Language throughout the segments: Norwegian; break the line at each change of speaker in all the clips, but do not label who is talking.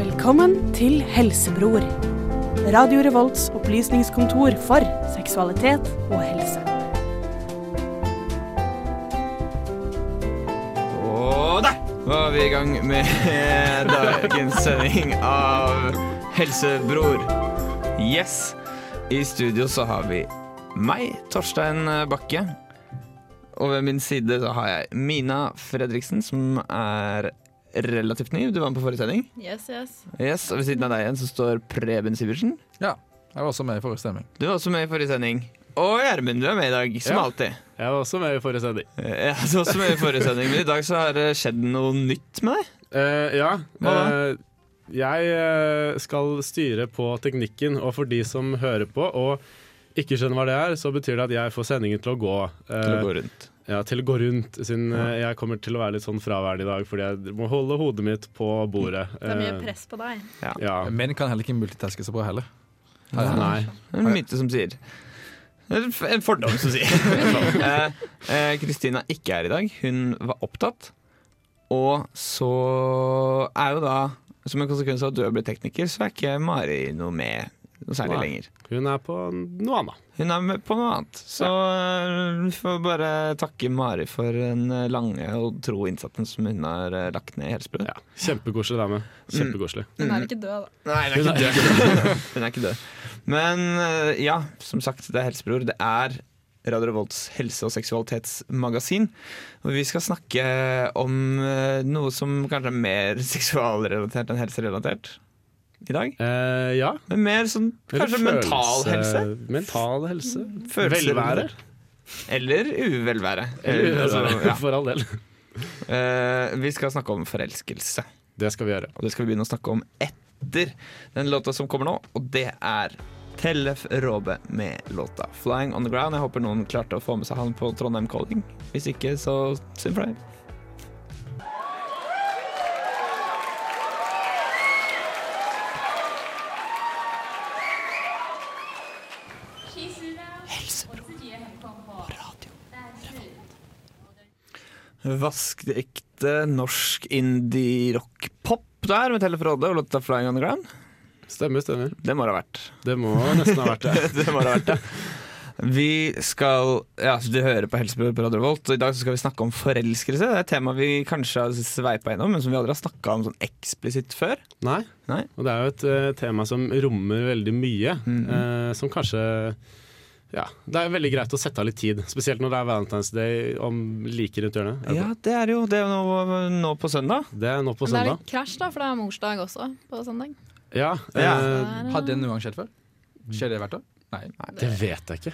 Velkommen til Helsebror. Radio Revolts opplysningskontor for seksualitet og helse.
Og der var vi i gang med dagens sending av Helsebror. Yes. I studio så har vi meg, Torstein Bakke. Og ved min side så har jeg Mina Fredriksen, som er relativt ny. Du var med på forrige sending.
Yes, yes.
Yes, Og ved siden av deg igjen så står Preben Sivertsen.
Ja, jeg var også med i forrige sending.
Du var også med i forrige sending. Og Gjermund, du er med i dag, som
Ja.
alltid.
Jeg var også med i forrige sending.
Ja, du er også med i forrige sending, Men i dag så har det skjedd noe nytt med deg.
Eh, ja.
Hva
eh, jeg eh, skal styre på teknikken, og for de som hører på og ikke skjønner hva det er, så betyr det at jeg får sendingen til å gå. eh,
Til å gå rundt.
Ja, til å gå rundt. Siden eh, jeg kommer til å være litt sånn fraværende i dag, fordi jeg må holde hodet mitt på bordet.
Det er mye
Eh,
press på deg.
Ja.
Menn kan heller ikke multitaske så bra heller.
Nei.
En myte som sier En f- en fordom som sier Eh, eh, Kristina ikke er i dag Hun var opptatt Og så er jo da Som en konsekvens av at du har blitt tekniker Så er ikke Mari noe med noe særlig
Nei.
lenger
Hun er på noe annet.
Hun er med på noe annet Så eh, vi får bare takke Mari for den lange og tro innsatsen Som hun har eh, lagt ned i helsebrød
Ja. Kjempekoselig dame.
Mm.
Kjempekoselig.
Hun er ikke død, da.
Nei, hun er ikke død. hun er ikke død. Men eh, ja, som sagt, det er Helsebror. Det er Radio Revolts helse- og seksualitetsmagasin. Og vi skal snakke om eh, noe som kanskje er mer seksualrelatert enn helserelatert i dag.
Eh, ja.
Men mer sånn
Eller eh,
kanskje mental helse.
Mental helse.
Følelser-
Velvære.
Eller uvelvære. Eller, altså,
Velvære.
ja.
For all del.
Eh, vi skal snakke om forelskelse.
Det skal vi gjøre.
Og det skal vi begynne å snakke om etter den låta som kommer nå, og det er Tellef Råbe med låta 'Flying On The Ground'. Jeg håper noen klarte å få med seg han på Trondheim Calling. Hvis ikke, så synd for deg. Vaskeekte norsk indie-rock-pop der med Tellef Råbe og låta 'Flying On The Ground'.
Stemmer, stemmer.
Det må det ha vært.
Det må nesten ha vært det.
det må det ha vært, ja. Vi skal Ja, så du hører på Helsebror på Radio Volt, og i dag så skal vi snakke om forelskelse. Det er et tema vi kanskje har sveipa innom, men som vi aldri har snakka om sånn eksplisitt før.
Nei.
Nei.
Og det er jo et eh, tema som rommer veldig mye,
Mm.
eh, som kanskje ja, Det er veldig greit å sette av litt tid, spesielt når det er Valentine's Day om like rundt hjørnet. Er det
Ja, det er jo det er jo nå, nå på søndag.
bra? Det er nå på
Men det er
søndag.
litt krasj, da, for det er morsdag også på søndag.
Ja,
Ja.
eh,
Har det noen gang skjedd før? Skjer det hvert år? Nei.
Det vet jeg ikke.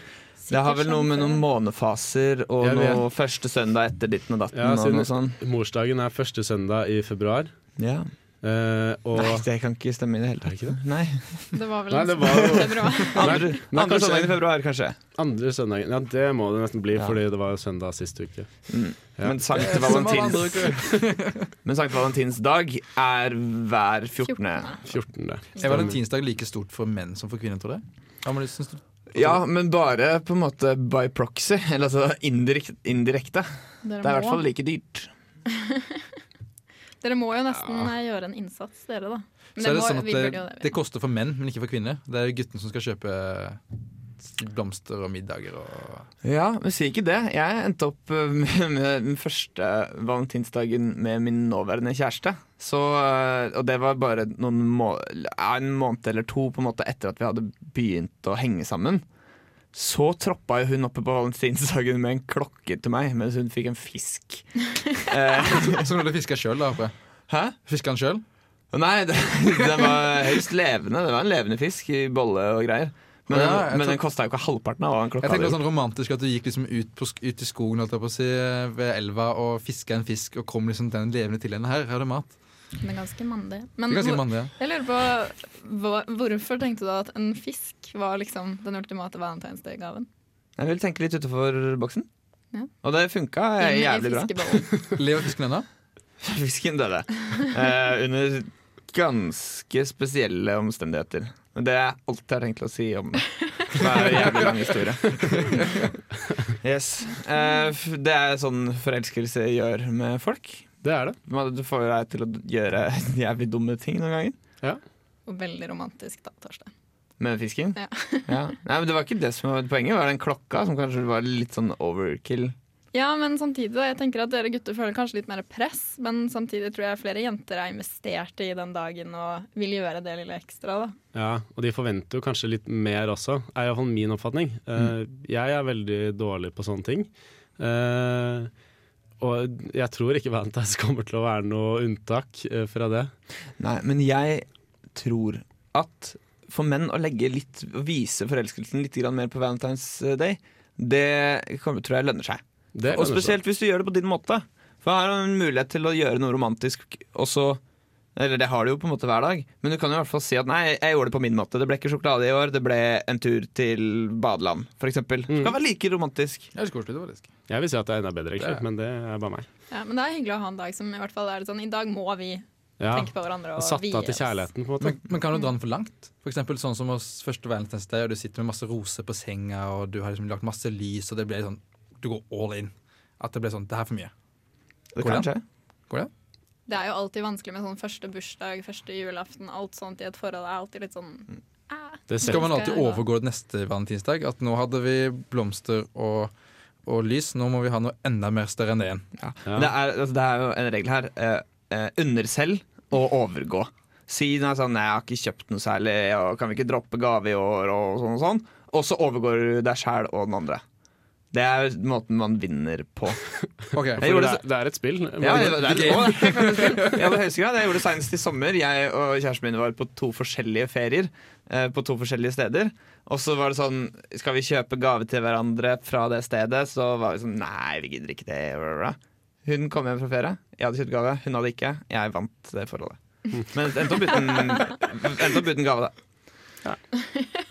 Det har vel noe med noen månefaser og
Jeg vet.
noe første søndag etter ditten og datten
Ja,
og
siden-
noe sånn.
Morsdagen er første søndag i februar,
Ja.
eh, og
Nei, det kan ikke stemme i det hele tatt.
ikke
Nei.
Det var vel
Nei, det var jo-
bra.
Andre,
Nei,
andre
kanskje-
søndag i februar, kanskje.
andre søndagen Ja, det må det nesten bli,
Ja.
fordi det var jo søndag sist uke. Ja.
Men Sankt
Som alle andre
Valentins,
uker.
men Sankt Valentins dag er hver 14.
14.
Er valentinsdag like stort for menn som for kvinner, tror du? Ja, men det syns du?
Ja, men bare på en måte by proxy. Eller altså indirekt, indirekte. Det er i
Dere,
hvert
må,
fall like dyrt.
dere må jo nesten eh, gjøre en innsats, dere, da. Men
Så er det
må,
sånn at
vi
det,
burde jo det.
det koster for menn, men ikke for kvinner. Det er guttene som skal kjøpe blomster og middager og
Ja, men si ikke det. Jeg endte opp eh, med den første valentinsdagen med min nåværende kjæreste. Så, eh, og det var bare noen må ja, en måned eller to på en måte etter at vi hadde begynt å henge sammen. Så troppa jo hun oppe på valentinsdagen med en klokke til meg, mens hun fikk en fisk. eh,
Som du fiska sjøl, da. håper jeg.
hæ?
Fisker han sjøl?
Å, Nei, det- den var høyst levende. Det var en levende fisk i bolle og greier. Men,
Å, ja, jeg
den- men
tror-
den kosta jo ikke halvparten av hva en
Jeg
klokka
tenker det
hadde.
var sånn romantisk at du gikk liksom ut, på, sk- ut i skogen holdt jeg på å si, ved elva og fiska en fisk og kom liksom den levende til henne. Her her er det mat.
Men det er ganske mandig.
Det
Men
er ganske
hvor-
mandig. ja.
jeg lurer på hva- hvorfor tenkte du at en fisk var liksom den ultimate valentinsdag-gaven?
Jeg vil tenke litt utenfor boksen.
Ja.
Og det funka
Inn i
jævlig bra.
fiskebollen.
Lever fisken ennå?
Fisken døde. Eh, under ganske spesielle omstendigheter. Men det er alt jeg har tenkt å si om det. Det er en jævlig lang historie. Yes. Eh, f- det er sånn forelskelse gjør med folk.
Det er det.
Man- Du får deg til å gjøre jævlig dumme ting noen ganger.
Ja.
Og veldig romantisk, da, Torstein.
Med fisken?
Ja.
Ja. Nei, men det var ikke det som var poenget. Det var den klokka som kanskje var litt sånn overkill.
Ja, men samtidig, da. Jeg tenker at dere gutter føler kanskje litt mer press, men samtidig tror jeg flere jenter er investerte i den dagen og vil gjøre det lille ekstra, da.
Ja, og de forventer jo kanskje litt mer også, er iallfall min oppfatning. Eh,
Mm.
Jeg er veldig dårlig på sånne ting. Eh, og jeg tror ikke Valentine's kommer til å være noe unntak eh, fra det.
Nei, men jeg tror at for menn å legge litt Å vise forelskelsen litt grann mer på Valentine's Day, det kommer, tror jeg lønner seg.
det
Og
kan du si.
spesielt hvis du gjør det på din måte. For her har du en mulighet til å gjøre noe romantisk også. Eller det har du jo på en måte hver dag, men du kan jo i hvert fall si at nei, jeg gjorde det på min måte. Det ble ikke sjokolade i år, det ble en tur til badeland, f.eks. Mm. Det
Mm.
kan være like romantisk.
Det er så koselig, det, faktisk.
Jeg vil si at det er enda bedre,
Det er-
egentlig, men det er bare meg.
Ja, men det er hyggelig å ha en dag som i hvert fall er litt sånn I dag må vi
Ja,
tenke på hverandre og
Satt
vie
av til
oss.
kjærligheten, på en måte.
Men, men kan du dra den for langt? For eksempel sånn som hos første Valentine's Day, og du sitter med masse roser på senga, og du har liksom lagt masse lys, og det blir sånn Du går all in. At det blir sånn Det her er for mye.
Det kan
Hvordan?
skje.
Går det?
Det er jo alltid vanskelig med sånn første bursdag, første julaften, alt sånt i et forhold. er alltid litt sånn eh.
Det ser
Skal man alltid
Skal jeg-
overgå det neste valentinsdag? At nå hadde vi blomster og, og lys, nå må vi ha noe enda mer større enn det igjen.
Ja.
Ja.
Det, er, altså, det er jo en regel her. Eh, eh, underselg og overgå. Si nei, sånn, nei, 'jeg har ikke kjøpt noe særlig', og 'kan vi ikke droppe gave i år', og sånn og sånn. Og så overgår du deg sjæl og den andre. Det er måten man vinner på.
Ok,
Jeg
For
gjorde
det,
det-
er- det er et spill. men-
Ja, det, det, er- å, det kan du si. I aller høyeste grad. Jeg gjorde det senest i sommer. Jeg og kjæresten min var på to forskjellige ferier. eh, På to forskjellige steder. Og så var det sånn Skal vi kjøpe gave til hverandre fra det stedet? Så var vi sånn Nei, vi gidder ikke det. bla, bla, bla. Hun kom hjem fra ferie. Jeg hadde kjøpt gave. Hun hadde ikke. Jeg vant det forholdet. Men endte opp uten, endte opp uten gave, da.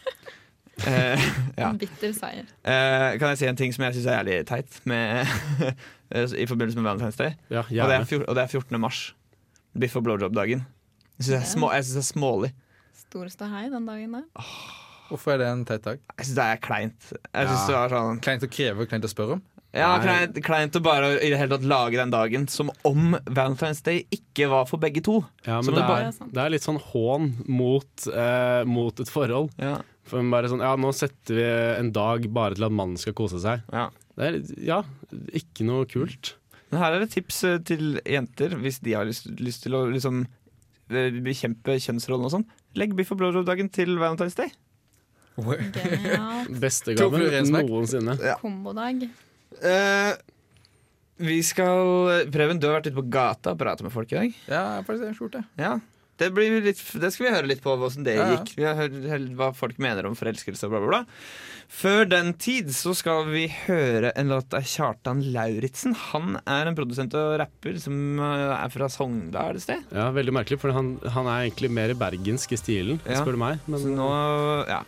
Eh, ja.
Bitter seier.
Eh, kan jeg si en ting som jeg syns er jævlig teit med, i forbindelse med Valentine's Day?
ja,
Og det, er
gjerne.
fjor, og det er 14. mars. Biff og blowjob-dagen. Jeg syns det, er små- jeg synes det er smålig.
Stor ståhei den dagen der.
Hvorfor er det en teit dag?
Jeg syns det er kleint. Jeg synes
Ja.
det var sånn
Kleint å kreve, kleint å spørre om.
Ja,
Nei.
kleint, kleint å bare i det hele tatt lage den dagen som om Valentine's Day ikke var for begge to.
Ja,
Så
men
det
det
bare-
er, det er litt sånn hån mot, eh, mot et forhold.
Ja,
For man bare sånn, ja, nå setter vi en dag bare til at mannen skal kose seg.
ja.
Det er, ja, ikke noe kult.
Men her er det tips eh, til jenter hvis de har lyst, lyst til å liksom eh, bekjempe kjønnsrollen og sånn. Legg biff og blowjob-dagen til Valentine's Day.
Genial.
Beste
To
gaven
fluer i en smekk.
noensinne.
Kombodag.
Eh, vi skal Preben, du har vært ute på gata og prata med folk i dag.
Ja, faktisk en skjorte.
Ja, det, blir litt, det skal vi høre litt på hvordan det
Ja, ja.
gikk. Vi har hørt hørt hva folk mener om forelskelse og bla, bla, bla. Før den tid så skal vi høre en låt av Kjartan Lauritzen. Han er en produsent og rapper som eh, er fra Sogndal et sted.
Ja, Veldig merkelig, for han, han er egentlig mer bergensk i stilen,
Ja.
spør du meg.
Så
Men
nå ja.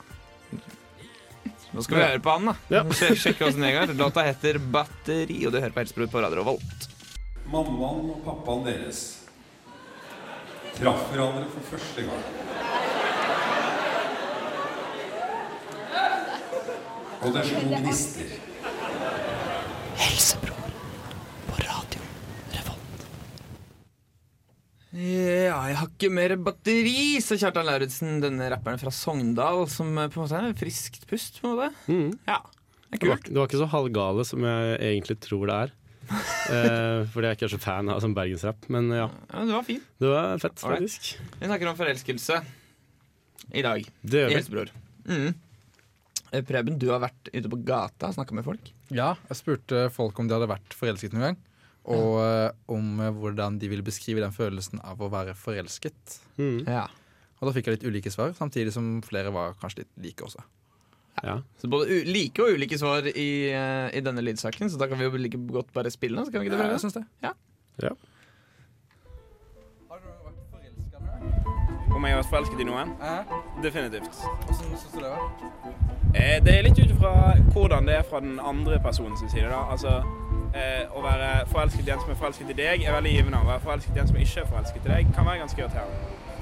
Nå skal vi
Ja.
høre på han, da.
Ja.
Sj- Sjekke åssen det går. Låta heter 'Batteri', og du hører på Helsebror på Radio Revolt.
Mammaen og pappaen deres traff hverandre for første gang. Og det slo gnister.
Ja, jeg har ikke mer batteri, sa Kjartan Lauritzen, denne rapperen fra Sogndal, som eh, på en måte er friskt pust, på en måte.
Mm.
Mhm.
Ja, det er
det
kult.
var, det var ikke så halvgale som jeg egentlig tror det er. Eh, fordi jeg ikke er så fan av sånn bergensrapp. Men ja,
Ja, men det var fin.
det var fett,
Alright.
faktisk.
Vi snakker om forelskelse i dag.
Det
I
gjør vi.
Helsebror. Mm. Eh, Preben, du har vært ute på gata og snakka med folk.
Ja, jeg spurte folk om de hadde vært forelsket noen gang. Og eh, om eh, hvordan de ville beskrive den følelsen av å være forelsket.
Mhm,
Ja.
Og da fikk jeg litt ulike svar, samtidig som flere var kanskje litt like også.
ja.
Så både u like og ulike svar i, eh, i denne lydsaken, så da kan vi jo like godt bare spille den. Så kan vi ikke det
Ja,
Preben?
jeg syns det.
Ja.
Har du vært forelska noen
Om jeg har vært forelsket i noen?
gang?
Definitivt.
Åssen syns du det var?
Eh, Det er litt ut fra hvordan det er fra den andre personens side. da. Altså, eh, Å være forelsket i en som er forelsket i deg, er veldig givende. Å være forelsket i en som ikke er forelsket i deg, kan være ganske irriterende.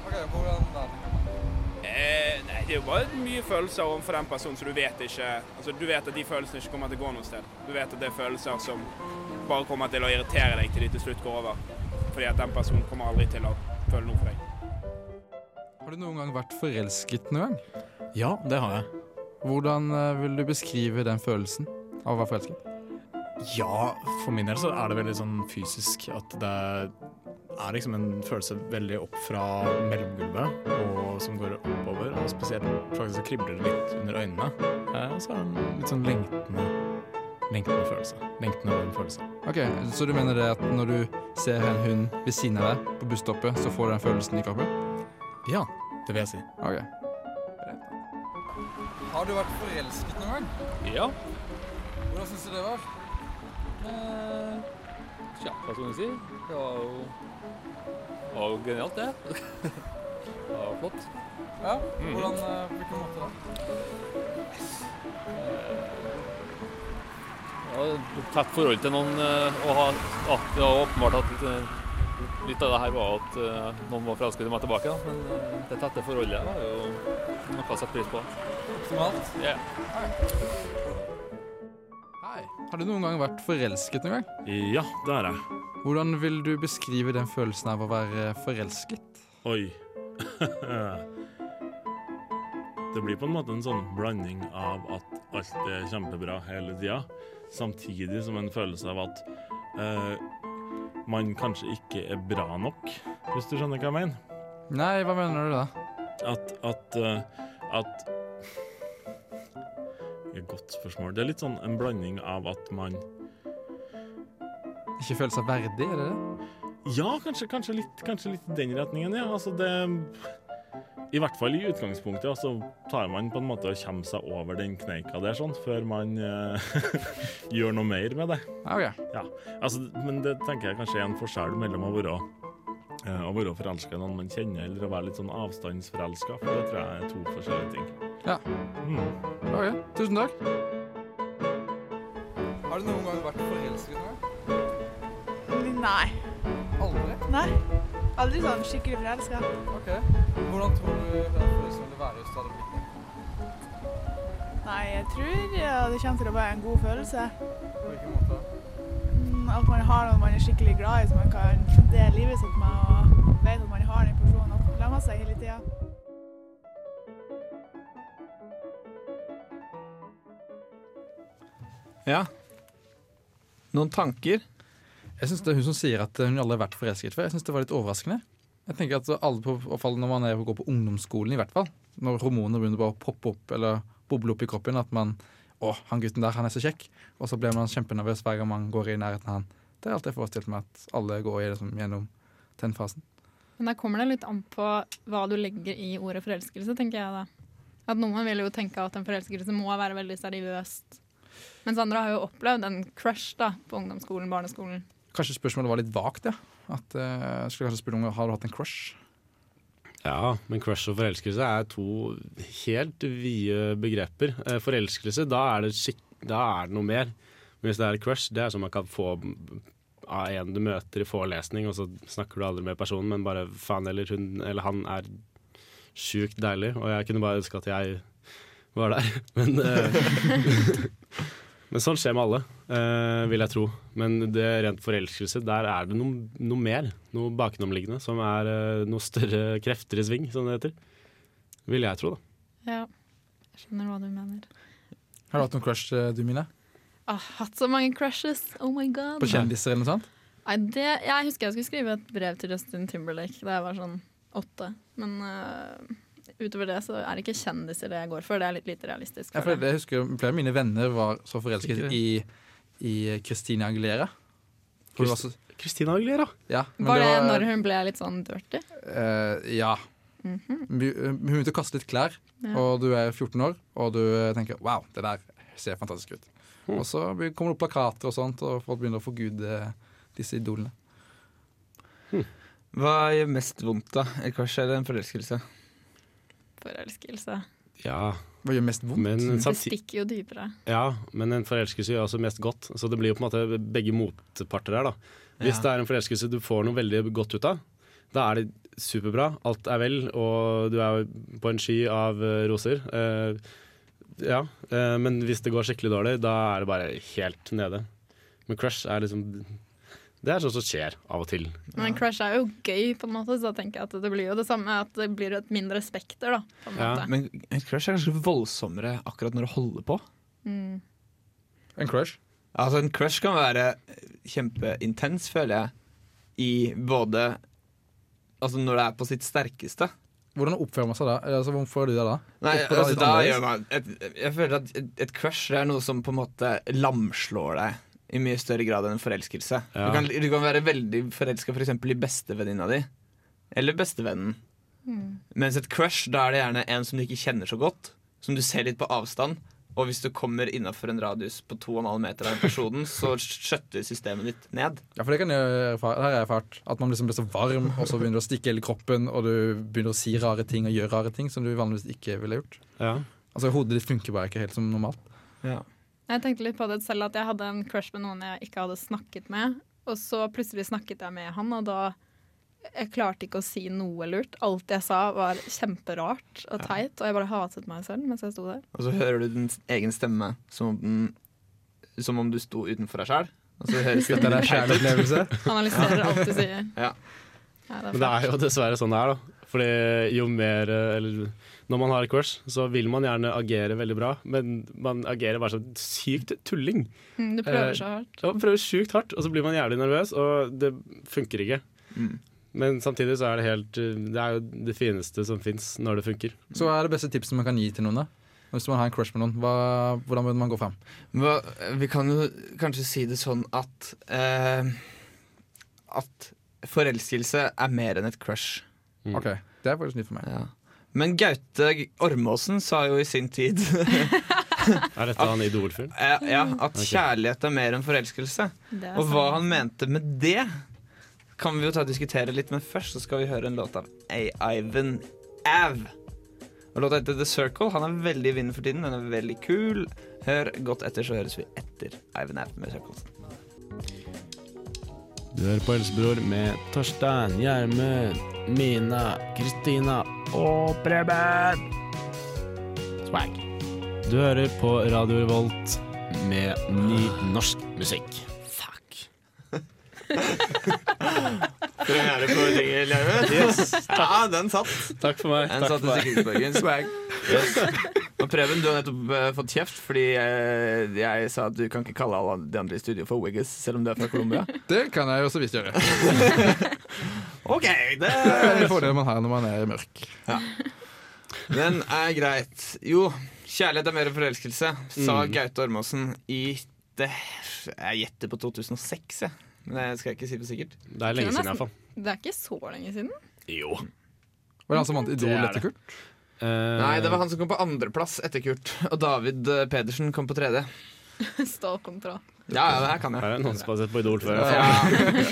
Ok, hvordan da?
Eh, Nei, det er jo bare mye følelser overfor den personen, så du vet ikke Altså, Du vet at de følelsene ikke kommer til å gå noe sted. Du vet at det er følelser som bare kommer til å irritere deg til de til slutt går over. Fordi at den personen kommer aldri til å føle noe for deg.
Har du noen gang vært forelsket noen gang?
Ja, det har jeg.
Hvordan eh, vil du beskrive den følelsen av å være forelsket?
Ja, for min del så er det veldig sånn fysisk at det er liksom en følelse veldig opp fra mellomgulvet, og som går oppover, og spesielt faktisk så kribler det litt under øynene. Eh, Og så er det en litt sånn lengtende, lengtende følelse. Lengtende over en følelse.
Ok, Så du mener det at når du ser en hund ved siden av deg på busstoppet, så får du den følelsen i kroppen?
Ja, det vil jeg si.
Ok. Har du vært forelsket noen gang?
Ja.
Hvordan syns du det var?
Eh, tja, hva skal man si? Det var jo, det var jo genialt, det. Det var flott. Mm.
Ja, hvordan, eh, på hvilken måte da?
Det var et tett forhold til noen, eh, og ha, at det var åpenbart at eh, litt av det her var at eh, noen var forelsket i meg tilbake, da. men eh, det tette forholdet var jo noe å sette pris på.
Optimalt.
Ja.
Hei. Har du noen gang vært forelsket noen gang?
Ja, det har jeg.
Hvordan vil du beskrive den følelsen av å være forelsket?
Oi. det blir på en måte en sånn blanding av at alt er kjempebra hele tida, samtidig som en følelse av at eh, man kanskje ikke er bra nok, hvis du skjønner hva jeg mener.
Nei, hva mener du da?
At at, eh, at Et Godt spørsmål. Det er litt sånn en blanding av at man
Ikke føle seg verdig, er det det?
Ja, kanskje, kanskje, litt, kanskje litt i den retningen, ja. Altså det I hvert fall i utgangspunktet, og så tar man på en måte og kommer seg over den kneika der, sånn, før man eh, gjør noe mer med det.
Ja, ok.
Altså, men det tenker jeg kanskje er en forskjell mellom å være eh, å være forelska i noen man kjenner, eller å være litt sånn avstandsforelska. For det tror jeg er to forskjellige ting.
Ja.
Mm.
ok. Tusen takk. Har du noen gang vært forelsket noen gang?
Nei.
Aldri.
Nei. Aldri sånn skikkelig forelska.
Ok. Hvordan tror du den følelsen vil være hvis du hadde blitt det?
Nei, jeg tror ja, det kommer til å være en god følelse.
På hvilken måte?
Mm, At man har noen man er skikkelig glad i, som man kan dele livet sitt med, og vet at man har den personen og lemmer seg hele tida.
Ja. Noen tanker?
Jeg synes det er Hun som sier at hun aldri har vært forelsket før, Jeg synes det var litt overraskende. Jeg tenker at alle på, i hvert fall Når man er, går på ungdomsskolen, i hvert fall når hormonene begynner bare å poppe opp eller boble opp i kroppen At man 'Å, han gutten der, han er så kjekk.' Og så blir man kjempenervøs hver gang man går i nærheten av han. Det er alt jeg forestilt meg at alle går i, liksom, gjennom den fasen.
Men der kommer det litt an på hva du legger i ordet forelskelse, tenker jeg da. At noen vil jo tenke at en forelskelse må være veldig seriøst. Mens andre har jo opplevd en crush da, på ungdomsskolen, barneskolen.
Kanskje spørsmålet var litt vagt, ja. At, eh, jeg skulle kanskje spørre om har du hatt en crush.
Ja, men crush og forelskelse er to helt vide begreper. Eh, Forelskelse, da er det, skikk, da er det noe mer. Men hvis det er crush, det er som man kan få av en du møter i forelesning, og så snakker du aldri med personen, men bare faen eller hun eller han er sjukt deilig. Og jeg kunne bare ønske at jeg var der, men eh, Men sånn skjer med alle, eh, vil jeg tro. Men det rent forelskelse, der er det noe, noe mer. Noe bakenomliggende som er eh, noe større krefter i sving, som det heter. Vil jeg tro, da.
Ja, jeg skjønner hva du mener.
Har du hatt noen crush, eh, du, Mina?
Ah, hatt så mange crushes! Oh my god!
På kjendiser eller noe sånt?
Nei, det, jeg husker jeg skulle skrive et brev til Justin Timberlake da jeg var sånn åtte. Men eh, utover det så er det ikke kjendiser det jeg går for. Det er litt lite realistisk.
Ja, for
For det.
jeg husker jo Flere av mine venner var så forelsket i, i Christina Aguilera. Hun var så,
Christina Aguilera.
ja, men
Var det
var-
når hun ble litt sånn dirty?
Eh, ja. Bu- Hun begynte å kaste litt klær,
Mhm. Ja.
og du er 14 år, og du eh, tenker 'wow, det der ser fantastisk ut'.
Mm.
Og så be- kommer det opp plakater og sånt, og folk begynner å forgude eh, disse idolene.
Hva gjør mest vondt, da? Et crush eller en forelskelse?
Forelskelse.
Ja,
Hva gjør mest vondt?
men,
Det
samti
stikker jo dypere.
ja, men en forelskelse gjør også mest godt. Så det blir jo på en måte begge motparter her, da. Hvis det er en forelskelse du får noe veldig godt ut av, da er det superbra. Alt er vel, og du er på en sky av eh, roser. Eh, ja, eh, men hvis det går skikkelig dårlig, da er det bare helt nede. Men crush er liksom Det er sånt som skjer av og til.
Men crush er jo gøy, på en måte, så da tenker jeg at det blir jo det samme. At det blir et mindre spekter, da. På en måte.
Men et crush er kanskje voldsommere akkurat når du holder på.
Mm.
En crush?
Altså En crush kan være kjempeintens, føler jeg, i både Altså når det er på sitt sterkeste.
Hvordan oppfører man seg da? Altså, hvorfor gjør du det da?
Nei,
Oppfører
altså
litt
da
annerledes?
gjør man et, Jeg føler at et, et crush det er noe som på en måte lamslår deg i mye større grad enn en forelskelse.
Ja.
Du, kan, du kan være veldig forelska f.eks. i bestevenninna di. Eller bestevennen.
Mm.
Mens et crush, da er det gjerne en som du ikke kjenner så godt. Som du ser litt på avstand. Og hvis du kommer innafor en radius på 2,5 meter av den personen, så skjøtter systemet ditt ned.
Ja, for det kan jeg erfare, det har jeg erfart. At man liksom blir så varm, og så begynner du å stikke hele kroppen, og du begynner å si rare ting og gjøre rare ting som du vanligvis ikke ville gjort. Altså Hodet ditt funker bare ikke helt som normalt.
Jeg tenkte litt på det selv at jeg hadde en crush med noen jeg ikke hadde snakket med. Og så plutselig snakket jeg med han, og da jeg klarte ikke å si noe lurt. Alt jeg sa var kjemperart og teit, og jeg bare hatet meg selv mens jeg sto der.
Og så hører du din egen stemme som om, den, som om du sto utenfor deg sjæl. Og så høres
Gutta, det er
teit ut.
sjælopplevelse.
Analyserer alt du sier.
Ja.
Ja,
Men det er jo dessverre sånn det er, da. Fordi jo mer eh, Eller når man har et crush, så vil man gjerne agere veldig bra, men man agerer bare som sykt tulling.
Mm, du prøver
Eh,
så hardt.
Ja, man prøver sjukt hardt, og så blir man jævlig nervøs, og det funker ikke.
Mm.
Men samtidig så er det helt eh, Det er jo det fineste som fins når det funker.
Så hva er det beste tipset man kan gi til noen? da? Hvis man har en crush med noen, hva, hvordan bør man gå fram?
Hva, vi kan jo kanskje si det sånn at eh, At forelskelse er mer enn et crush.
Ok, Det er faktisk nytt for meg.
Ja. Men Gaute Ormåsen sa jo i sin tid
Er dette han idolfyren?
Eh, ja, at
Ok.
kjærlighet er mer enn forelskelse.
Det er
Og hva
sant.
han mente med det, kan vi jo ta og diskutere litt, men først så skal vi høre en låt av A. Ivan Av. Og låta heter The Circle. Han er veldig i vinden for tiden. Den er veldig kul. Hør godt etter, så høres vi etter Ivan Av med Circles.
Du hører på Helsebror med Torstein, Gjermund, Mina, Kristina og Preben. Swag. Du hører på Radio Revolt med ny norsk musikk. Fuck.
Premiere på Jingle Live.
Yes,
Ja, den satt.
Takk for meg.
Den
Takk
satt i
for meg.
sikkerhetsbølgen. Swag. Og Preben, du har nettopp eh, fått kjeft fordi eh, jeg sa at du kan ikke kalle alle de andre i studio for Wiggles, selv om du er fra Colombia.
Det kan jeg jo så visst gjøre.
OK, det
Det er en fordel man har når man er mørk.
Den er greit. Jo, kjærlighet er mer enn forelskelse, sa
Mm.
Gaute Ormåsen i det Jeg gjetter på 2006, jeg. Men det skal jeg ikke si på sikkert.
Det er
Det er nesten- Det er ikke så lenge siden.
Jo.
Var det han som vant Idol etter Kurt?
Nei, det var han som kom på andreplass etter Kurt. Og David eh, Pedersen kom på tredje.
Stålkontroll.
Ja, ja, det her kan jeg.
Er det noen som har sett på Idol før?
Ja.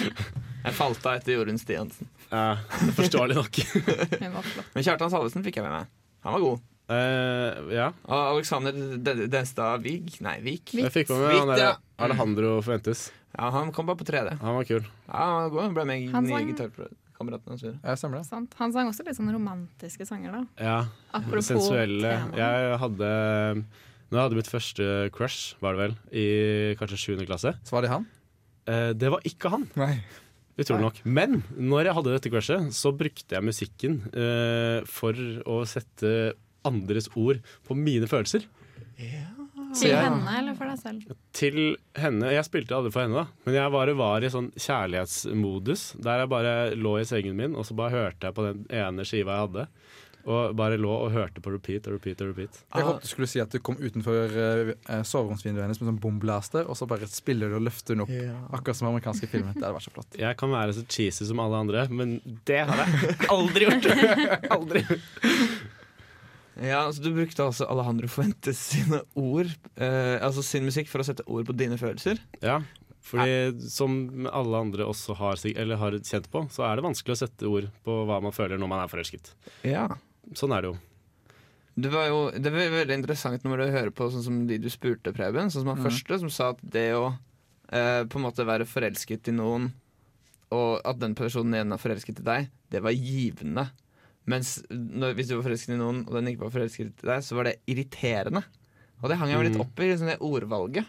Jeg falt av etter Jorunn Stiansen.
Ja, forståelig nok.
Hun var flott.
Men Kjartan Salvesen fikk jeg med meg. Han var god.
Eh, ja.
Og Alexander Den- Denstad Vig Nei, Vik.
Jeg fikk med meg han
Vik,
der
ja.
Alejandro Forventes.
Ja, han kom bare på tredje.
Han var kul.
Ja, han var god. Han ble med i
Han
nye
sang-
gitarkameratene hans.
Ja, stemmer det.
Sant? Han sang også litt sånn romantiske sanger, da.
Ja.
Apropos
sensuelle.
tema.
Jeg hadde Når jeg hadde mitt første crush, var det vel, i kanskje 7. klasse
Så var det han?
Eh, det var ikke han.
Nei.
Utrolig nok. Men når jeg hadde dette crushet, så brukte jeg musikken eh, for å sette andres ord på mine følelser. Så
Til
jeg-
henne eller for deg selv?
Til henne Jeg spilte aldri for henne, da, men jeg bare var i sånn kjærlighetsmodus. Der jeg bare lå i sengen min, og så bare hørte jeg på den ene skiva jeg hadde. Og bare lå og hørte på repeat og repeat og repeat.
Jeg håpet du skulle si at du kom utenfor eh, eh, soveromsvinduet hennes med sånn bomblaster, og så bare spiller du og løfter hun opp. Akkurat som amerikanske filmer. Det hadde vært så flott.
Jeg kan være så cheesy som alle andre, men det har jeg aldri gjort. aldri.
Ja, altså Du brukte altså Alejandro Fuentes sine ord, eh, altså sin musikk, for å sette ord på dine følelser.
Ja, fordi som alle andre også har, sig- eller har kjent på, så er det vanskelig å sette ord på hva man føler når man er forelsket.
Ja.
Sånn er det jo.
Det var jo det var veldig interessant når du hører på sånn som de du spurte, Preben. Sånn som han
Mhm.
første, som sa at det å eh, på en måte være forelsket i noen, og at den personen igjen er forelsket i deg, det var givende. Mens når, hvis du var forelsket i noen, og den ikke var forelsket i deg, så var det irriterende. Og det hang jeg meg litt
Mhm.
opp i, sånn det ordvalget.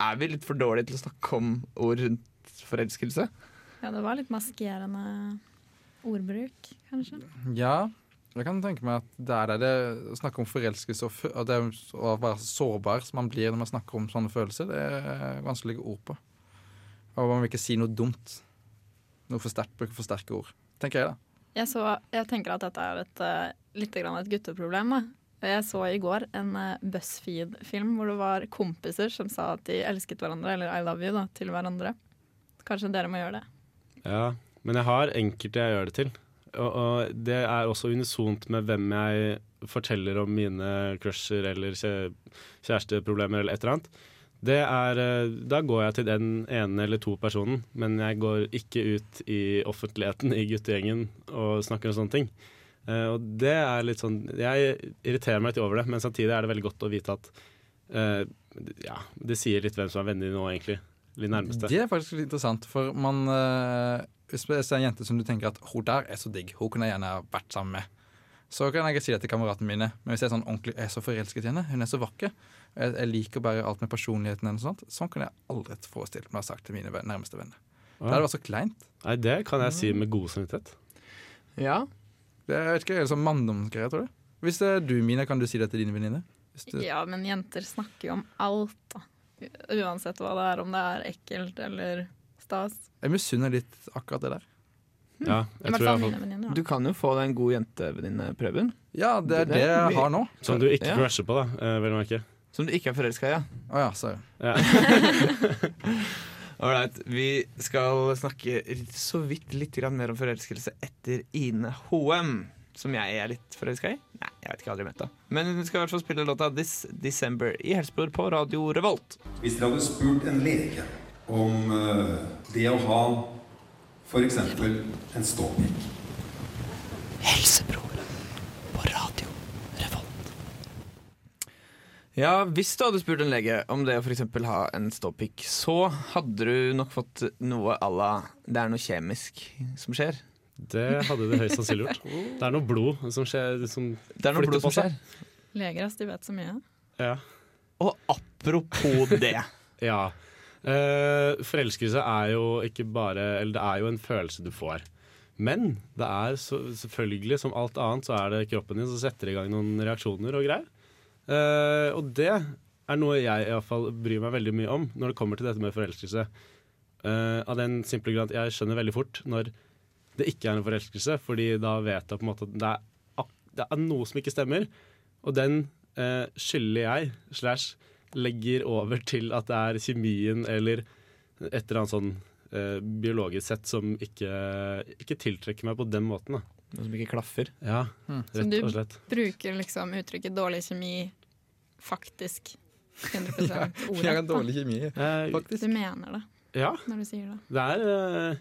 Er vi litt for dårlige til å snakke om ord rundt kjærlighetsforelskelse.
Ja, det var litt maskerende ordbruk, kanskje.
Ja, jeg kan tenke meg at der er det å snakke om forelskelse og, fø- og det å være sårbar som man blir når man snakker om sånne følelser, det er vanskelig å legge ord på. Og man vil ikke si noe dumt. Noe for sterkt, bruke for sterke ord. Tenker jeg, da.
Jeg, så, jeg tenker at dette er et, eh, litt grann et gutteproblem. Da. Jeg så i går en eh, BuzzFeed-film hvor det var kompiser som sa at de elsket hverandre, eller I love you, da, til hverandre. Kanskje dere må gjøre det.
Ja, men jeg har enkelte jeg gjør det til. Og, og det er også unisont med hvem jeg forteller om mine crusher eller kjæ- kjæresteproblemer eller et eller annet. Det er, eh, da går jeg til den ene eller to personen, men jeg går ikke ut i offentligheten i guttegjengen og snakker om sånne ting. Eh, og det er litt sånn Jeg irriterer meg litt over det, men samtidig er det veldig godt å vite at eh, Ja, det sier litt hvem som er vennene dine nå, egentlig. Litt nærmeste.
Det er faktisk litt interessant, for man eh, Hvis jeg ser en jente som du tenker at hun der er så digg, hun kunne jeg gjerne ha vært sammen med, så kan jeg ikke si det til kameratene mine. Men hvis jeg er sånn ordentlig jeg er så forelsket i henne, hun er så vakker, jeg, jeg liker bare alt med personligheten hennes og sånt, sånn kunne jeg aldri forestilt meg å ha sagt til mine ven- nærmeste venner.
Ja.
Det hadde vært så kleint.
Nei, det kan jeg si med god samvittighet.
Ja.
Det er vet ikke, det er sånn manndomsgreie, tror jeg. Hvis det er du, Mina, kan du si det til dine venninner? Hvis du-
Ja, men jenter snakker jo om alt, da. U- Uansett hva det er, om det er ekkelt eller stas.
Jeg misunner litt akkurat det der.
Ja,
I hvert fall mine venninner, da.
Du kan jo få deg en god jentevenninne, Preben.
Ja, det er det jeg har nå.
Som du ikke
Ja.
crusher på, da, eh, vel å merke.
Som du ikke er forelska i, ja.
Å ja, sorry.
Ja.
Alright, vi skal snakke så vidt litt grann mer om forelskelse etter Ine Hoem. Som jeg er litt forelska i. Nei, jeg vet ikke, jeg har aldri møtt henne. Men hun skal i hvert fall spille låta This December i Helsebror på Radio Revolt.
Hvis dere hadde spurt en lege om eh, det å ha f.eks. en ståpikk
Helsebroren på Radio Revolt. Ja, hvis du hadde spurt en lege om det å f.eks. ha en ståpikk, så hadde du nok fått noe à la Det er noe kjemisk som skjer.
Det hadde det høyst sannsynlig gjort. Det er noe blod som skjer som
Det er noe blod som skjer.
Leger, ass, de vet så mye.
Ja.
Og apropos det.
ja. Eh, forelskelse er jo ikke bare Eller det er jo en følelse du får. Men det er så, selvfølgelig, som alt annet, så er det kroppen din som setter i gang noen reaksjoner og greier. Eh, og det er noe jeg iallfall bryr meg veldig mye om når det kommer til dette med forelskelse. Eh, av den simple grunn at jeg skjønner veldig fort når det ikke er en forelskelse, fordi da vet jeg på en måte at det er, ak- det er noe som ikke stemmer. Og den eh, skylder jeg, slash legger over til at det er kjemien eller et eller annet sånn eh, biologisk sett som ikke, ikke tiltrekker meg på den måten. Da.
Noe som ikke klaffer.
Ja,
Som
rett
du
og slett.
bruker liksom uttrykket 'dårlig kjemi' faktisk 100
Ja,
ordet.
Jeg har dårlig kjemi,
Eh,
faktisk.
Du mener det
ja,
når du sier det.
det er eh,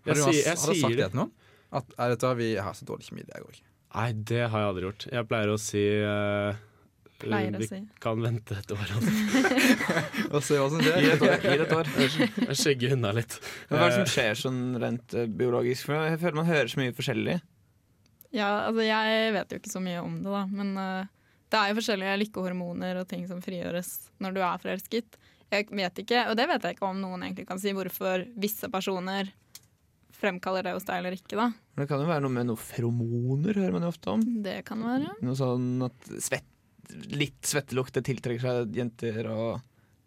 Har du,
jeg, sier- jeg
har du
sier
sagt
det.
det til noen? At, «Nei, vet du hva, vi har så dårlig kjemi, det går ikke.
Nei, det har jeg aldri gjort. Jeg pleier å si eh,
Pleier å
vi
si.
kan vente et år.
Og se hva som
Gi det
skjer.
et år. Gi det et år.
Jeg skygger unna litt.
Men hva er det som skjer sånn rent eh, biologisk? For jeg føler man hører så mye forskjellig.
Ja, altså jeg vet jo ikke så mye om det, da. Men eh, det er jo forskjellige lykkehormoner og ting som frigjøres når du er forelsket. Jeg vet ikke, og det vet jeg ikke om noen egentlig kan si, hvorfor visse personer fremkaller det hos deg eller ikke, da.
Men det kan jo være noe med noe feromoner, hører man jo ofte om.
Det kan være.
Noe sånn at svett, litt svettelukt det tiltrekker seg jenter og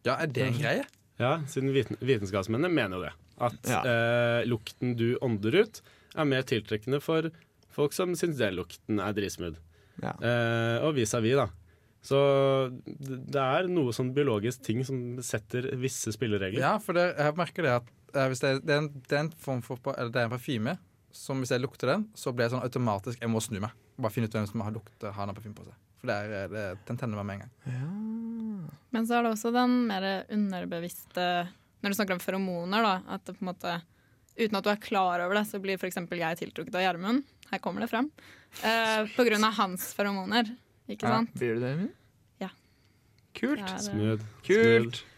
Ja, er det en greie?
Ja, siden viten, vitenskapsmennene mener jo det. At
Ja.
eh, lukten du ånder ut, er mer tiltrekkende for folk som syns den lukten er dritsmooth.
Ja.
Eh, og vis-à-vis, da. Så det det er noe sånn biologisk ting som setter visse spilleregler.
Ja, for det, jeg merker det at eh, hvis det, er- det, er en, det er en form for Eller det er en parfyme som hvis jeg lukter den, så blir jeg sånn automatisk Jeg må snu meg. Bare finne ut hvem som har lukte, har den parfymen på seg. For det er, eh, det, den tenner meg med en gang.
Men så er det også den mer underbevisste Når du snakker om feromoner, da, at det på en måte Uten at du er klar over det, så blir f.eks. jeg tiltrukket av Gjermund. Her kommer det frem. Eh, på grunn av hans feromoner, ikke
Ja.
sant?
Blir du det, Emil?
Ja.
Kult.
Det er, eh,
Smooth.
Kult.
smooth.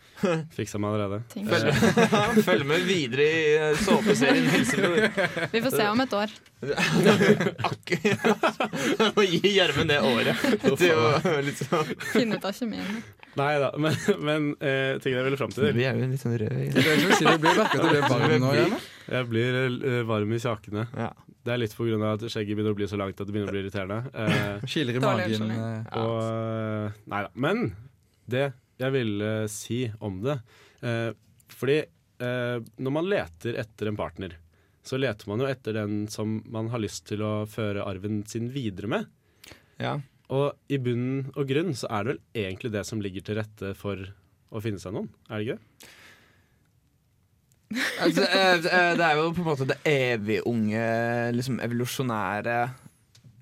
Fiksa meg allerede.
ting.
Følg med, Følg med videre i eh, såpeserien Helsebror.
Vi får se om et år.
Akkurat. Må gi Gjermund det året til å liksom
Finne ut av kjemien.
Nei da, men, men eh, ting jeg ville fram til
Vi er jo litt sånn røde. i
Det er ikke noe å si, det blir merket at det blir varm nå, gjerne.
Jeg blir eh, varm i kjakene. Det er litt pga. at skjegget begynner å bli så langt at det begynner å bli irriterende. Eh,
Kiler i
Dårlig
magen.
unnskyldning.
eh,
Og eh, Nei da. Men det jeg ville si om det eh, Fordi eh, når man leter etter en partner, så leter man jo etter den som man har lyst til å føre arven sin videre med.
Ja.
Og i bunn og grunn så er det vel egentlig det som ligger til rette for å finne seg noen, er det ikke? det?
Altså, eh, eh, det er jo på en måte det evig unge, liksom evolusjonære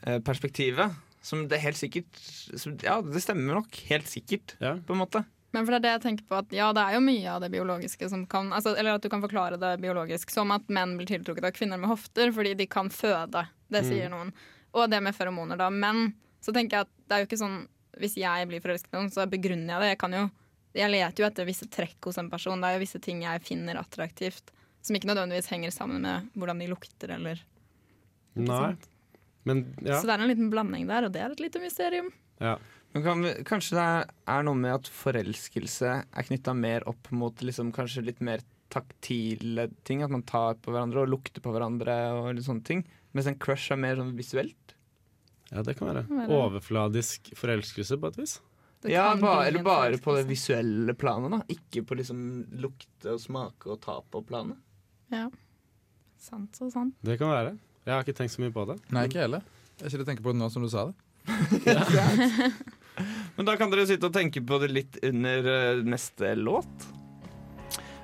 eh, perspektivet. Som det helt sikkert som, Ja, det stemmer nok. Helt sikkert,
Ja.
på en måte.
Men for det er det jeg tenker på at ja, det er jo mye av det biologiske som kan altså, Eller at du kan forklare det biologisk som at menn blir tiltrukket av kvinner med hofter fordi de kan føde. Det sier
Mm.
noen. Og det med feromoner, da. Men så tenker jeg at det er jo ikke sånn hvis jeg blir forelsket i noen, så begrunner jeg det. Jeg kan jo jeg leter jo etter visse trekk hos en person. Det er jo visse ting jeg finner attraktivt. Som ikke nødvendigvis henger sammen med hvordan de lukter, eller ikke sant?
Men ja.
Så det er en liten blanding der, og det er et lite mysterium.
ja.
Men kan, vi- kanskje det er, er noe med at forelskelse er knytta mer opp mot liksom, kanskje litt mer taktile ting. At man tar på hverandre og lukter på hverandre og litt sånne ting. Mens en crush er mer sånn visuelt.
ja, det kan være.
Kan være.
Overfladisk forelskelse på et vis.
Det
ja,
kan
ba,
bli en
eller bare på det
forelskelse.
visuelle planet, da. Ikke på liksom lukte og smake og ta på-planet.
Ja. Sant så sant.
Det kan være. Jeg har ikke tenkt så mye på det.
Nei, ikke heller. Jeg sitter og tenker på det nå som du sa det.
Men da kan dere sitte og tenke på det litt under eh, neste låt.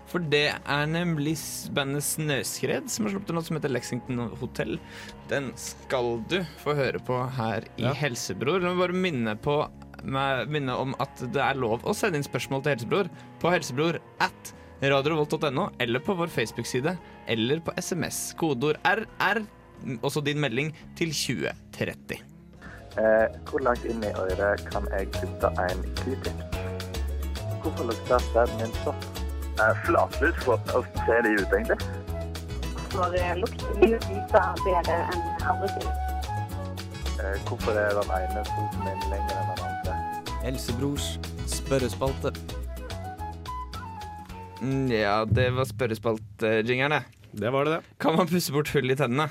For det er nemlig s- bandet Snøskred som har sluppet en låt som heter Lexington Hotel. Den skal du få høre på her i
Ja.
Helsebror. La meg bare minne, på, meg- minne om at det er lov å sende inn spørsmål til Helsebror på helsebror at radiorevolt.no eller på vår Facebook-side eller på SMS. Kodeord RR, også din melding, til 2030.
Eh, hvor langt inn i øret kan jeg putte en q-tip? Hvorfor lukter sæden min sånn? Eh, Flatlus, for hvordan ser de ut egentlig?
For lukten blir bedre enn andre ting.
Eh, hvorfor er den ene foten min lenger enn den andre?
Helsebrors spørrespalte.
Mm, Ja, det var spørrespaltjingeren, det.
Det var det, det.
Kan man pusse bort hull i tennene?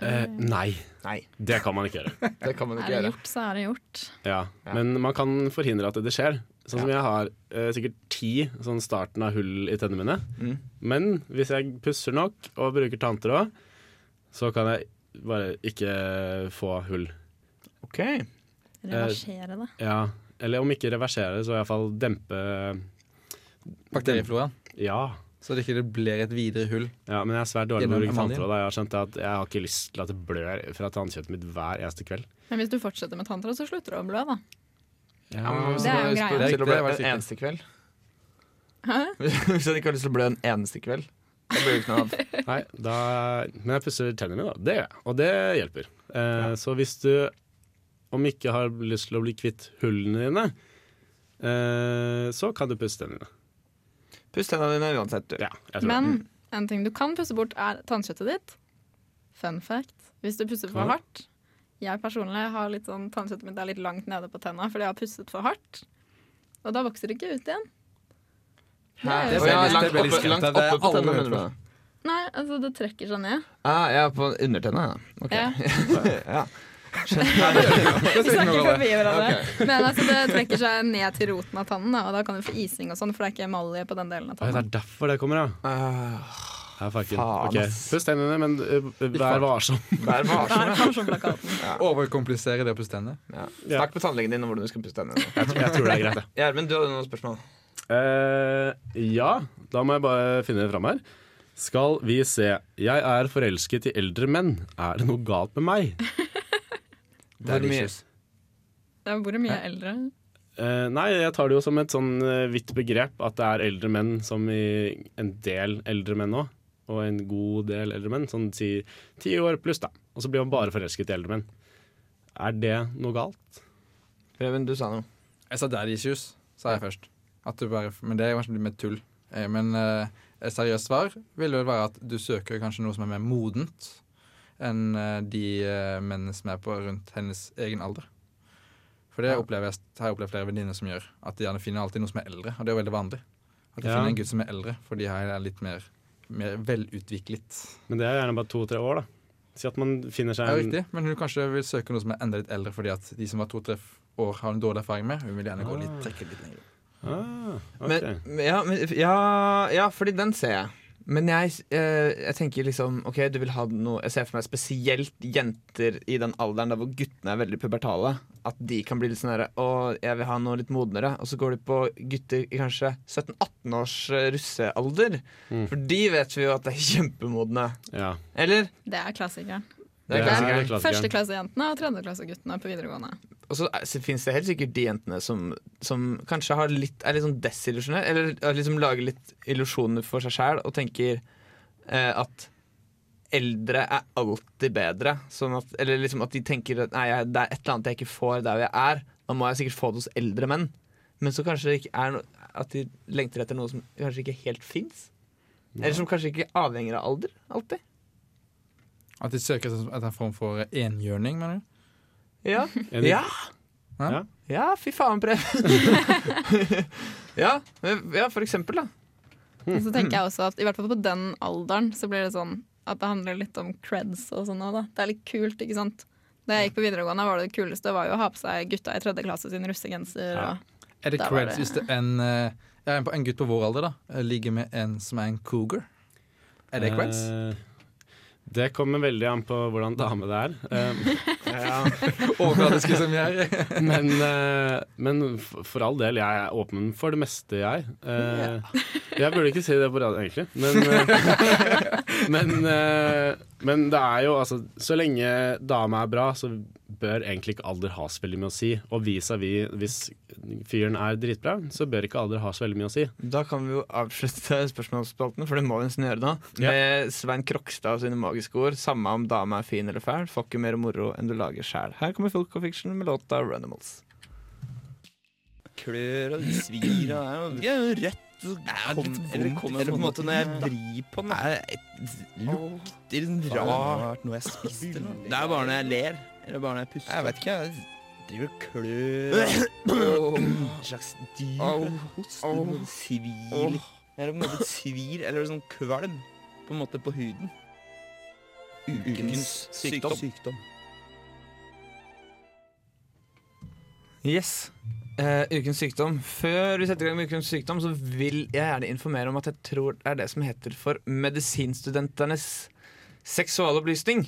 Eh, nei.
Nei.
Det kan man ikke gjøre.
Det kan man
Er det gjort, så er det gjort.
Ja, Men man kan forhindre at det skjer. Sånn som jeg har eh, sikkert ti sånn starten av hull i tennene mine.
Mm.
Men hvis jeg pusser nok og bruker tanntråd, så kan jeg bare ikke få hull.
Ok.
Eh, Reversere det.
Ja, Eller om ikke reversere, så iallfall dempe
Bakteriefloraen.
Ja.
Så det ikke blir et videre hull.
ja men jeg er svært dårlig på å
Gjennom
bruke
emaljen.
tanntråd. da. Jeg har skjønt at jeg har ikke lyst til at det blør fra tannkjøttet mitt hver eneste kveld.
Men hvis du fortsetter med tanntråd, så slutter du å blø, da.
Ja, men hvis
Det er
man
jo
har lyst
greia.
til å
Det
blø
er veldig
en eneste kveld Hvis man ikke har lyst til å blø en eneste kveld, da blir det ikke noe annet.
Nei, da, men jeg pusser tennene mine, da. Det gjør jeg, og det hjelper. Eh, Så hvis du om ikke har lyst til å bli kvitt hullene dine, eh, så kan du pusse tennene dine.
Puss tennene dine uansett, du.
Ja, jeg tror det. Mm.
Men en ting du kan pusse bort, er tannkjøttet ditt. Fun fact. Hvis du pusser for
Ja.
hardt. Jeg personlig har litt sånn tannkjøttet mitt er litt langt nede på tenna fordi jeg har pusset for hardt. Og da vokser det ikke ut igjen. Det er jo
Å ja,
veldig-
langt
det er veldig
oppe-
skremt.
langt
Det er
oppe på
alle
tennene,
mulige
mener du?
Nei, altså det trekker seg ned.
Ah, ja, på undertenna, ja. Ok.
Ja.
ja.
Vi snakker forbi hverandre. Men altså det trekker seg ned til roten av tannen, da, og da kan du få ising og sånn, for det er ikke emalje på den delen
Oi,
av
det
tannen.
er derfor det kommer, ja.
Ah,
ja fucken.
Faen,
Ok,
ass.
Puss tennene, men eh, vær varsom.
Vær varsom.
Der kommer sånn plakaten.
Overkomplisere det å pusse tennene.
Ja.
Ja.
Snakk med tannlegen din om hvordan du skal pusse tennene.
Jeg, tror- jeg tror det er greit, jeg.
Gjermund, du hadde noen spørsmål.
Eh, ja, da må jeg bare finne det fram her. Skal vi se. Jeg er forelsket i eldre menn. Er det noe galt med meg?
Hvor mye?
Det er hvor mye eldre.
Eh, nei, jeg tar det jo som et sånn eh, vidt begrep at det er eldre menn som i en del eldre menn òg. Og en god del eldre menn. Sånn si ti år pluss, da. Og så blir man bare forelsket i eldre menn. Er det noe galt?
Preben, du sa noe.
Jeg sa daddy issues, sa jeg først. At du bare, men det er kanskje litt mer tull. Eh, Men eh, et seriøst svar vil vel være at du søker kanskje noe som er mer modent enn eh, de eh, mennene som er på rundt hennes egen alder. For det opplever jeg, har jeg opplevd flere venninner som gjør. At de gjerne finner alltid noe som er eldre, og det er jo veldig vanlig. At de
Ja.
finner en gutt som er eldre, for de her er litt mer, mer velutviklet.
Men det er gjerne bare to-tre år, da. Si at man finner
Det er
seg
jo riktig, men hun kanskje vil søke noe som er enda litt eldre, fordi at de som har to-tre år, har hun dårlig erfaring med. Hun vil gjerne gå litt, trekke litt lenger.
Ah,
Men- men, ja, men, ja, ja, fordi den ser jeg. Men jeg, eh, jeg tenker liksom Ok, du vil ha noe Jeg ser for meg spesielt jenter i den alderen der hvor guttene er veldig pubertale. At de kan bli litt sånn herre Å, jeg vil ha noe litt modnere. Og så går de på gutter i kanskje 17-18 års eh, russealder.
Mm.
For de vet vi jo at det er kjempemodne.
Ja.
Eller?
Det er klassikeren.
Det er klassikeren.
Førsteklassejentene og tredjeklasseguttene på videregående.
Og så fins det helt sikkert de jentene som, som kanskje har litt, er litt sånn desillusjonert, eller har liksom lager litt illusjoner for seg sjæl og tenker eh, at eldre er alltid bedre. Sånn at, eller liksom at de tenker at nei, jeg, det er et eller annet jeg ikke får der hvor jeg er. Da må jeg sikkert få det hos eldre menn. Men så kanskje det ikke er noe, at de lengter etter noe som kanskje ikke helt fins. Eller som kanskje ikke avhenger av alder alltid.
At de søker etter- etter en form for enhjørning, mener du?
Ja,
Enig.
ja.
Hæ?
Ja.
Ja, fy faen, Preben. ja, men- ja, for eksempel, da.
Men så tenker jeg også at i hvert fall på den alderen så blir det sånn at det handler litt om creds og sånn òg, da. Det er litt kult, ikke sant. Da jeg gikk på videregående, var det det kuleste var jo å ha på seg gutta i tredje klasse sin russegenser. Og
Er det
Da var
creds
det-
hvis det er en, eh, ja, en, på- en gutt på vår alder da, eh, ligger med en som er en cougar? Er det creds?
Eh, det kommer veldig an på hvordan dame det er. Eh,
Overfladiske som jeg er.
men, eh, men f- for all del, jeg er åpen for det meste, jeg. Eh, Jeg burde ikke si det på radio, egentlig. Men, eh, men, eh, men det er jo altså Så lenge dame er bra, så bør egentlig ikke alder ha så veldig mye å si. Og vis-à-vis, hvis fyren er dritbra, så bør ikke alder ha så veldig mye å si.
Da kan vi jo avslutte spørsmålsspalten, for det må vi nesten gjøre da. Med Svein Krokstad og sine magiske ord. Samme om dama er fin eller fæl, får ikke mer moro enn du lager sjæl. Her kommer Folk of Fiction med låta Runimals.
Klør og svir og det er jo rødt. Så kom, eller kommer på en måte når jeg vrir på den. Det lukter en rart noe jeg spiste. Det er bare når jeg ler. Eller bare når jeg puster. Jeg vet ikke. Jeg driver og klør. En slags dyr host. Noe svir. Det er på en måte et svir eller sånn kvalm på en måte på huden. Ukens sykdom.
Yes. Eh, ukens sykdom. Før vi setter i gang med ukens sykdom, så vil jeg gjerne informere om at jeg tror det er det som heter for Medisinstudentenes seksualopplysning.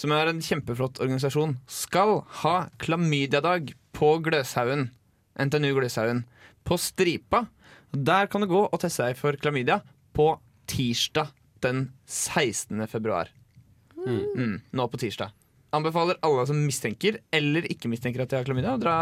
Som er en kjempeflott organisasjon. Skal ha klamydiadag på Gløshaugen. NTNU Gløshaugen. På Stripa. Der kan du gå og teste deg for klamydia på tirsdag den 16. februar. Mm, nå på tirsdag. Anbefaler alle som mistenker eller ikke mistenker at de har klamydia, å dra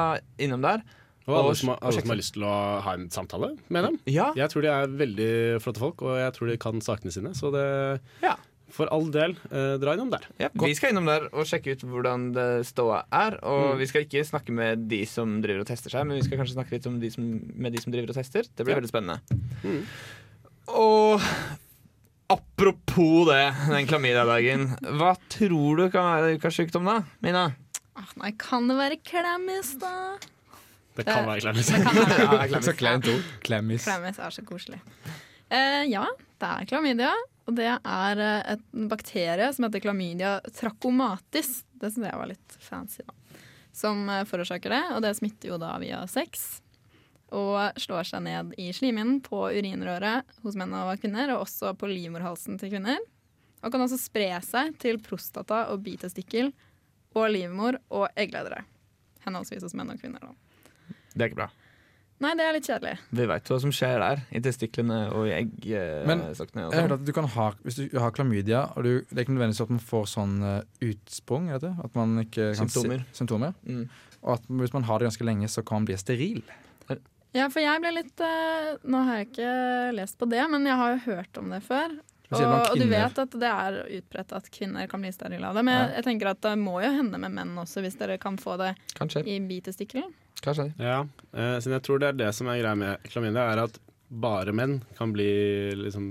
innom der.
Og alle som, har- alle
sjekke
som har
det.
lyst til å ha en samtale med dem.
Ja.
Jeg tror de er veldig flotte folk, og jeg tror de kan sakene sine. Så det, for all del, eh, dra innom der.
Ja, vi skal innom der og sjekke ut hvordan det ståa er. Og
Mm.
vi skal ikke snakke med de som driver og tester seg, men vi skal kanskje snakke litt om de som, med de som driver og tester. Det blir
Ja.
veldig spennende.
Mm.
Og apropos det, den klamydiadagen. Hva tror du kan være ukas sykdom, da? Mina?
ah, nei, kan det være klemmis, da?
Det
kan
være klammis.
Det kan være det.
Så kleint ord. Klemmis.
Klemmis er så koselig. Eh, ja, det er klamydia. Og det er eh, et- en bakterie som heter klamydia trachomatis. Det syns jeg var litt fancy, da. Som eh, forårsaker det, og det smitter jo da via sex. Og slår seg ned i slimhinnen, på urinrøret hos menn og kvinner, og også på livmorhalsen til kvinner. Og kan også spre seg til prostata og bitestikkel og livmor og eggledere. Henholdsvis hos menn og kvinner. Da.
Det er ikke bra.
Nei, det er litt kjedelig.
Vi veit hva som skjer der, i testiklene og i
Men
eggstokkene. og
jeg hørte
sånn.
at du kan ha, hvis du har klamydia, og du, det er ikke nødvendigvis at man får sånn eh, utsprung, er det det? At man ikke kan
Symptomer.
Se, symptomer.
Mm.
Og at hvis man har det ganske lenge, så kan man bli steril.
Ja, for jeg ble litt eh, Nå har jeg ikke lest på det, men jeg har jo hørt om det før. Og,
Spesielt blant
og du
kvinner.
vet at det er utbredt at kvinner kan bli sterile av det. Men jeg- jeg tenker at det må jo hende med menn også, hvis dere kan få det
Kanskje.
i bitestikkelen.
Kanskje.
Ja, eh, siden jeg tror det er det som er greia med klamydia, er at bare menn kan bli, liksom,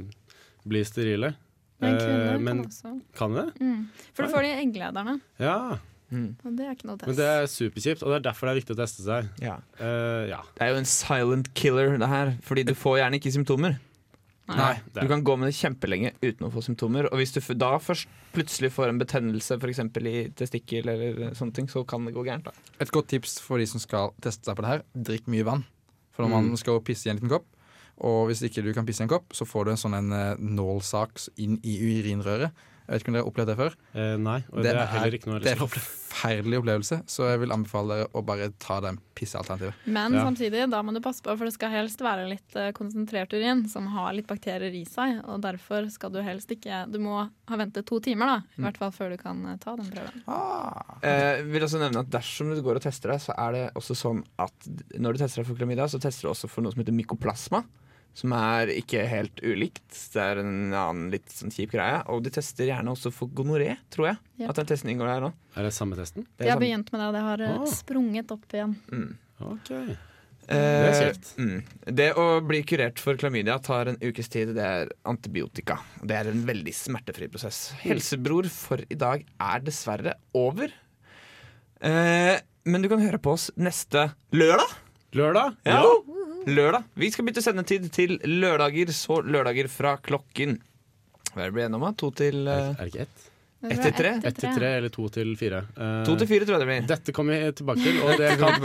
bli sterile.
Men kvinner
Eh,
kan også.
Kan det?
Mm. For du får det i egglederne.
Ja.
Og det er ikke noe
Men
test.
det er superkjipt, og det er derfor det er viktig å teste seg.
Ja.
Eh, ja.
Det er jo en silent killer, det her. Fordi du får gjerne ikke symptomer.
Nei.
Du kan gå med det kjempelenge uten å få symptomer. Og hvis du f- da først plutselig får en betennelse for eksempel i testikkel, eller sånne ting, så kan det gå gærent. da
Et godt tips for de som skal teste seg på det her, drikk mye vann. For når
Mm.
man skal jo pisse i en liten kopp, og hvis ikke du kan pisse i en kopp, så får du en sånn en eh, nålsak inn i urinrøret. Jeg vet ikke om dere har opplevd det før?
Eh, nei, og det er heller ikke noe jeg har
Det er
lyst til å
en forferdelig opplevelse, så jeg vil anbefale dere å bare ta den pissealternativet.
Men samtidig, da må du passe på, for det skal helst være litt eh, konsentrert urin som har litt bakterier i seg. Og derfor skal du helst ikke Du må ha ventet to timer, da. I
Mm.
hvert fall før du kan eh, ta den prøven.
Eh, vil også nevne at Dersom du går og tester deg, så er det også sånn at når du tester deg for klamydia, så tester du også for noe som heter mykoplasma. Som er ikke helt ulikt. Det er en annen litt sånn kjip greie. Og de tester gjerne også for gonoré, tror jeg.
Ja.
At den testen inngår der òg.
Er det samme testen?
Jeg har begynt med det, og det har eh,
Ah.
sprunget opp igjen.
Mm.
Ok.
Eh,
Det er kjekt.
mm. Det å bli kurert for klamydia tar en ukes tid. Det er antibiotika. Det er en veldig smertefri prosess. Helsebror for i dag er dessverre over. Eh, men du kan høre på oss neste lørdag.
Lørdag?
Ja. Lørdag. Vi skal bytte sendetid til lørdager, så lørdager fra klokken Hva er det vi ble enige om? da? To til eh,
Er det ikke ett?
Det Ett til var tre? ett til
Ett til
tre.
tre, eller to til fire. Eh,
To til fire, tror jeg det blir.
Dette kommer vi tilbake til, og det kan,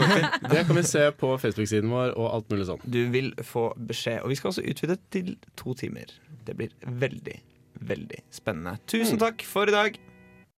det kan vi se på Facebook-siden vår og alt mulig sånn.
Du vil få beskjed. Og vi skal også utvide til to timer. Det blir veldig, veldig spennende. Tusen takk for i dag.